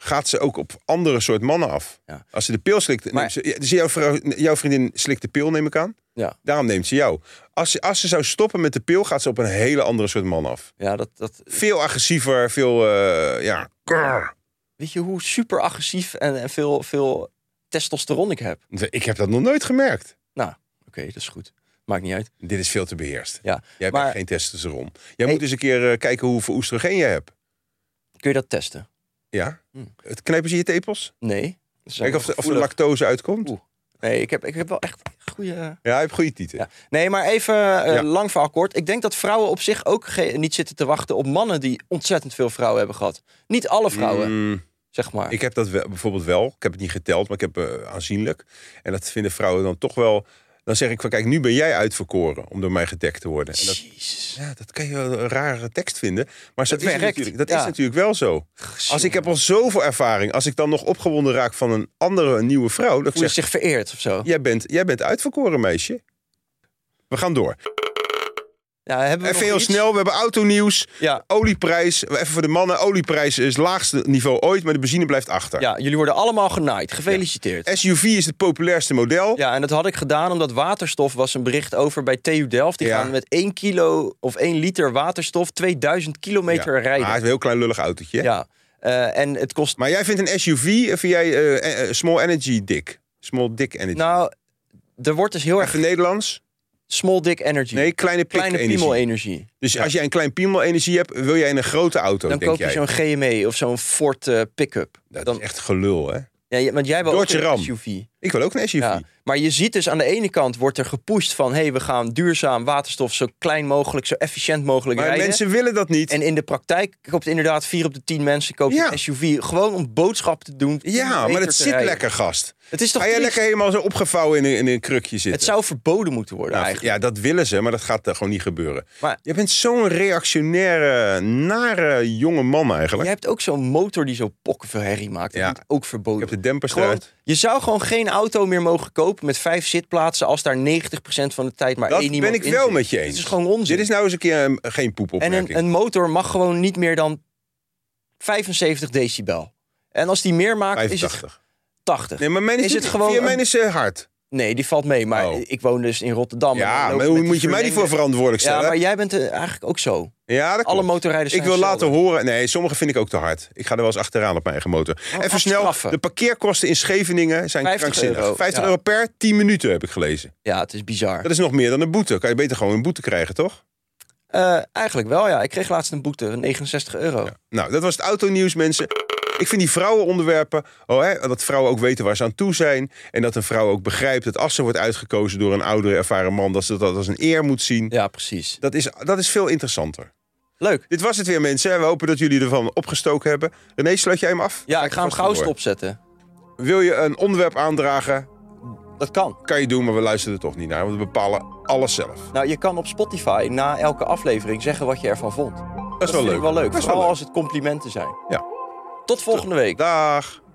S2: gaat ze ook op andere soort mannen af.
S3: Ja.
S2: Als ze de pil slikt. neemt
S3: Maar-
S2: ze, ja, dus jouw, vrouw, jouw vriendin slikt de pil, neem ik aan.
S3: Ja,
S2: Daarom neemt ze jou. Als ze, als ze zou stoppen met de pil, gaat ze op een hele andere soort man af.
S3: ja dat, dat,
S2: veel agressiever, veel eh, ja. grrr.
S3: weet je hoe super agressief en, en veel, veel testosteron ik heb?
S2: Ik heb dat nog nooit gemerkt.
S3: Nou, oké, dat is goed. Maakt niet uit.
S2: Dit is veel te beheerst. Jij
S3: Ja,
S2: hebt
S3: maar-
S2: echt geen testosteron. Jij
S3: Hey.
S2: moet eens een keer eh, kijken hoeveel oestrogeen jij hebt.
S3: Kun je dat testen?
S2: Ja.
S3: Hm.
S2: Het knijpen ze je tepels.
S3: Nee. Dat is
S2: Kijk of, de- of de
S3: gevoelig.
S2: lactose uitkomt.
S3: Oeh. Nee, ik heb, ik heb wel echt goede...
S2: Ja, je hebt goede titel.
S3: Ja. Nee, maar even eh,
S2: Ja.
S3: lang verhaal kort. Ik denk dat vrouwen op zich ook ge- niet zitten te wachten op mannen die ontzettend veel vrouwen hebben gehad. Niet alle vrouwen,
S2: Mm,
S3: zeg maar.
S2: ik heb dat wel, bijvoorbeeld wel. Ik heb het niet geteld, maar ik heb eh, aanzienlijk. En dat vinden vrouwen dan toch wel. Dan zeg ik van kijk, nu ben jij uitverkoren om door mij gedekt te worden. En dat,
S3: Jezus.
S2: ja, dat kan je wel een rare tekst vinden. Maar zo
S3: Dat
S2: is het
S3: werkt.
S2: natuurlijk, dat
S3: Ja.
S2: is natuurlijk wel zo. Als ik heb al zoveel ervaring, als ik dan nog opgewonden raak van een andere, een nieuwe vrouw, dan
S3: Voel je
S2: zeg ik,
S3: zich vereerd of zo?
S2: jij bent, jij bent uitverkoren, meisje. We gaan door.
S3: Ja, hebben we
S2: Even
S3: nog
S2: heel
S3: iets?
S2: snel, we hebben autonieuws.
S3: Ja.
S2: Olieprijs, even voor de mannen. Olieprijs is het laagste niveau ooit, maar de benzine blijft achter.
S3: ja, jullie worden allemaal genaaid. Gefeliciteerd.
S2: SUV is het populairste model.
S3: Ja, en dat had ik gedaan omdat waterstof was een bericht over bij TU Delft. Die
S2: Ja.
S3: gaan met 1 kilo of 1 liter waterstof 2000 kilometer
S2: Ja.
S3: rijden.
S2: Maar het is een heel klein lullig autootje. hè?
S3: ja. Eh, en het kost.
S2: Maar jij vindt een SUV, eh, vind jij eh, eh, small energy dik? Small dick energy.
S3: Nou, er wordt dus heel erg
S2: Even Nederlands?
S3: small dick energy.
S2: Nee, kleine pik
S3: Kleine
S2: energie.
S3: piemel e- energie.
S2: Dus als jij een klein piemel energie hebt, wil jij in een grote auto,
S3: Dan
S2: denk
S3: koop je
S2: jij.
S3: zo'n GME of zo'n Ford eh, pick-up.
S2: Dat
S3: Dan,
S2: is echt gelul, hè?
S3: ja, je- want jij wil ook
S2: Dodge Ram.
S3: een SUV.
S2: Ik wil ook een SUV.
S3: Ja, maar je ziet dus aan de ene kant wordt er gepusht van... hé, hey, we gaan duurzaam waterstof zo klein mogelijk, zo efficiënt mogelijk
S2: maar
S3: rijden.
S2: mensen willen dat niet.
S3: En in de praktijk koopt inderdaad vier op de tien mensen koopt
S2: Ja.
S3: een SUV. Gewoon om boodschap te doen.
S2: ja, maar
S3: het
S2: dat zit lekker, gast.
S3: Het is toch
S2: Ga jij
S3: triest?
S2: lekker helemaal zo opgevouwen in een, in een krukje zitten?
S3: Het zou verboden moeten worden
S2: Nou,
S3: eigenlijk.
S2: ja, dat willen ze, maar dat gaat eh, gewoon niet gebeuren.
S3: Maar-
S2: je bent zo'n reactionaire, nare jonge man eigenlijk.
S3: Je hebt ook zo'n motor die zo pokken veel herrie maakt. Dat
S2: Ja.
S3: moet ook verboden
S2: Ik heb de dempers
S3: Gewoon-
S2: eruit.
S3: Je zou gewoon geen auto meer mogen kopen met vijf zitplaatsen... als daar 90% van de tijd maar
S2: Dat
S3: één
S2: ben
S3: iemand
S2: ik
S3: in
S2: wel
S3: zit.
S2: met je eens.
S3: Dit is gewoon onzin.
S2: Dit is nou eens een keer een- geen
S3: En
S2: poepopmerking.
S3: een, een motor mag gewoon niet meer dan 75 decibel. En als die meer maakt, is het
S2: 85.
S3: 80.
S2: Nee, maar mijn is,
S3: Is het
S2: het
S3: gewoon
S2: gewoon mijn
S3: een-
S2: is eh, hard.
S3: Nee, die valt mee. Maar
S2: Oh.
S3: ik woon dus in Rotterdam. en dan
S2: Ja,
S3: loop
S2: maar
S3: ik
S2: hoe
S3: met die
S2: moet je mij niet voor
S3: verlengde-
S2: verantwoordelijk
S3: Ja,
S2: stellen?
S3: maar jij bent eh, eigenlijk ook zo.
S2: Ja, dat
S3: Alle
S2: klopt.
S3: motorrijders
S2: Ik
S3: zijn
S2: wil laten
S3: hetzelfde.
S2: horen. Nee, sommige vind ik ook te hard. Ik ga er wel eens achteraan op mijn eigen motor.
S3: Oh,
S2: Even snel,
S3: afstraffen.
S2: de parkeerkosten in Scheveningen zijn
S3: 50
S2: krankzinnig.
S3: euro,
S2: 50
S3: ja.
S2: euro per 10 minuten heb ik gelezen.
S3: Ja, het is bizar.
S2: Dat is nog meer dan een boete. Kan je beter gewoon een boete krijgen, toch?
S3: Eh, eigenlijk wel, ja. Ik kreeg laatst een boete van 69 euro.
S2: Nou, dat was het autonieuws, mensen. Ik vind die vrouwenonderwerpen, oh, hè, dat vrouwen ook weten waar ze aan toe zijn. En dat een vrouw ook begrijpt dat als ze wordt uitgekozen door een oudere ervaren man, dat ze dat als een eer moet zien.
S3: Ja, precies.
S2: Dat is, dat is veel interessanter.
S3: Leuk.
S2: Dit was het weer, mensen. We hopen dat jullie ervan opgestoken hebben. René, sluit jij hem af?
S3: Ja, ik
S2: Kijk
S3: ga hem
S2: vast
S3: gauw
S2: door.
S3: stopzetten.
S2: Wil je een onderwerp aandragen?
S3: Dat kan.
S2: Kan je doen, maar we luisteren er toch niet naar. Want we bepalen alles zelf.
S3: Nou, je kan op Spotify na elke aflevering zeggen wat je ervan vond. Dat,
S2: Dat is wel
S3: vind
S2: leuk.
S3: ik wel leuk.
S2: Dat is
S3: Vooral
S2: wel leuk.
S3: als het complimenten zijn.
S2: Ja.
S3: Tot volgende week.
S2: Dag.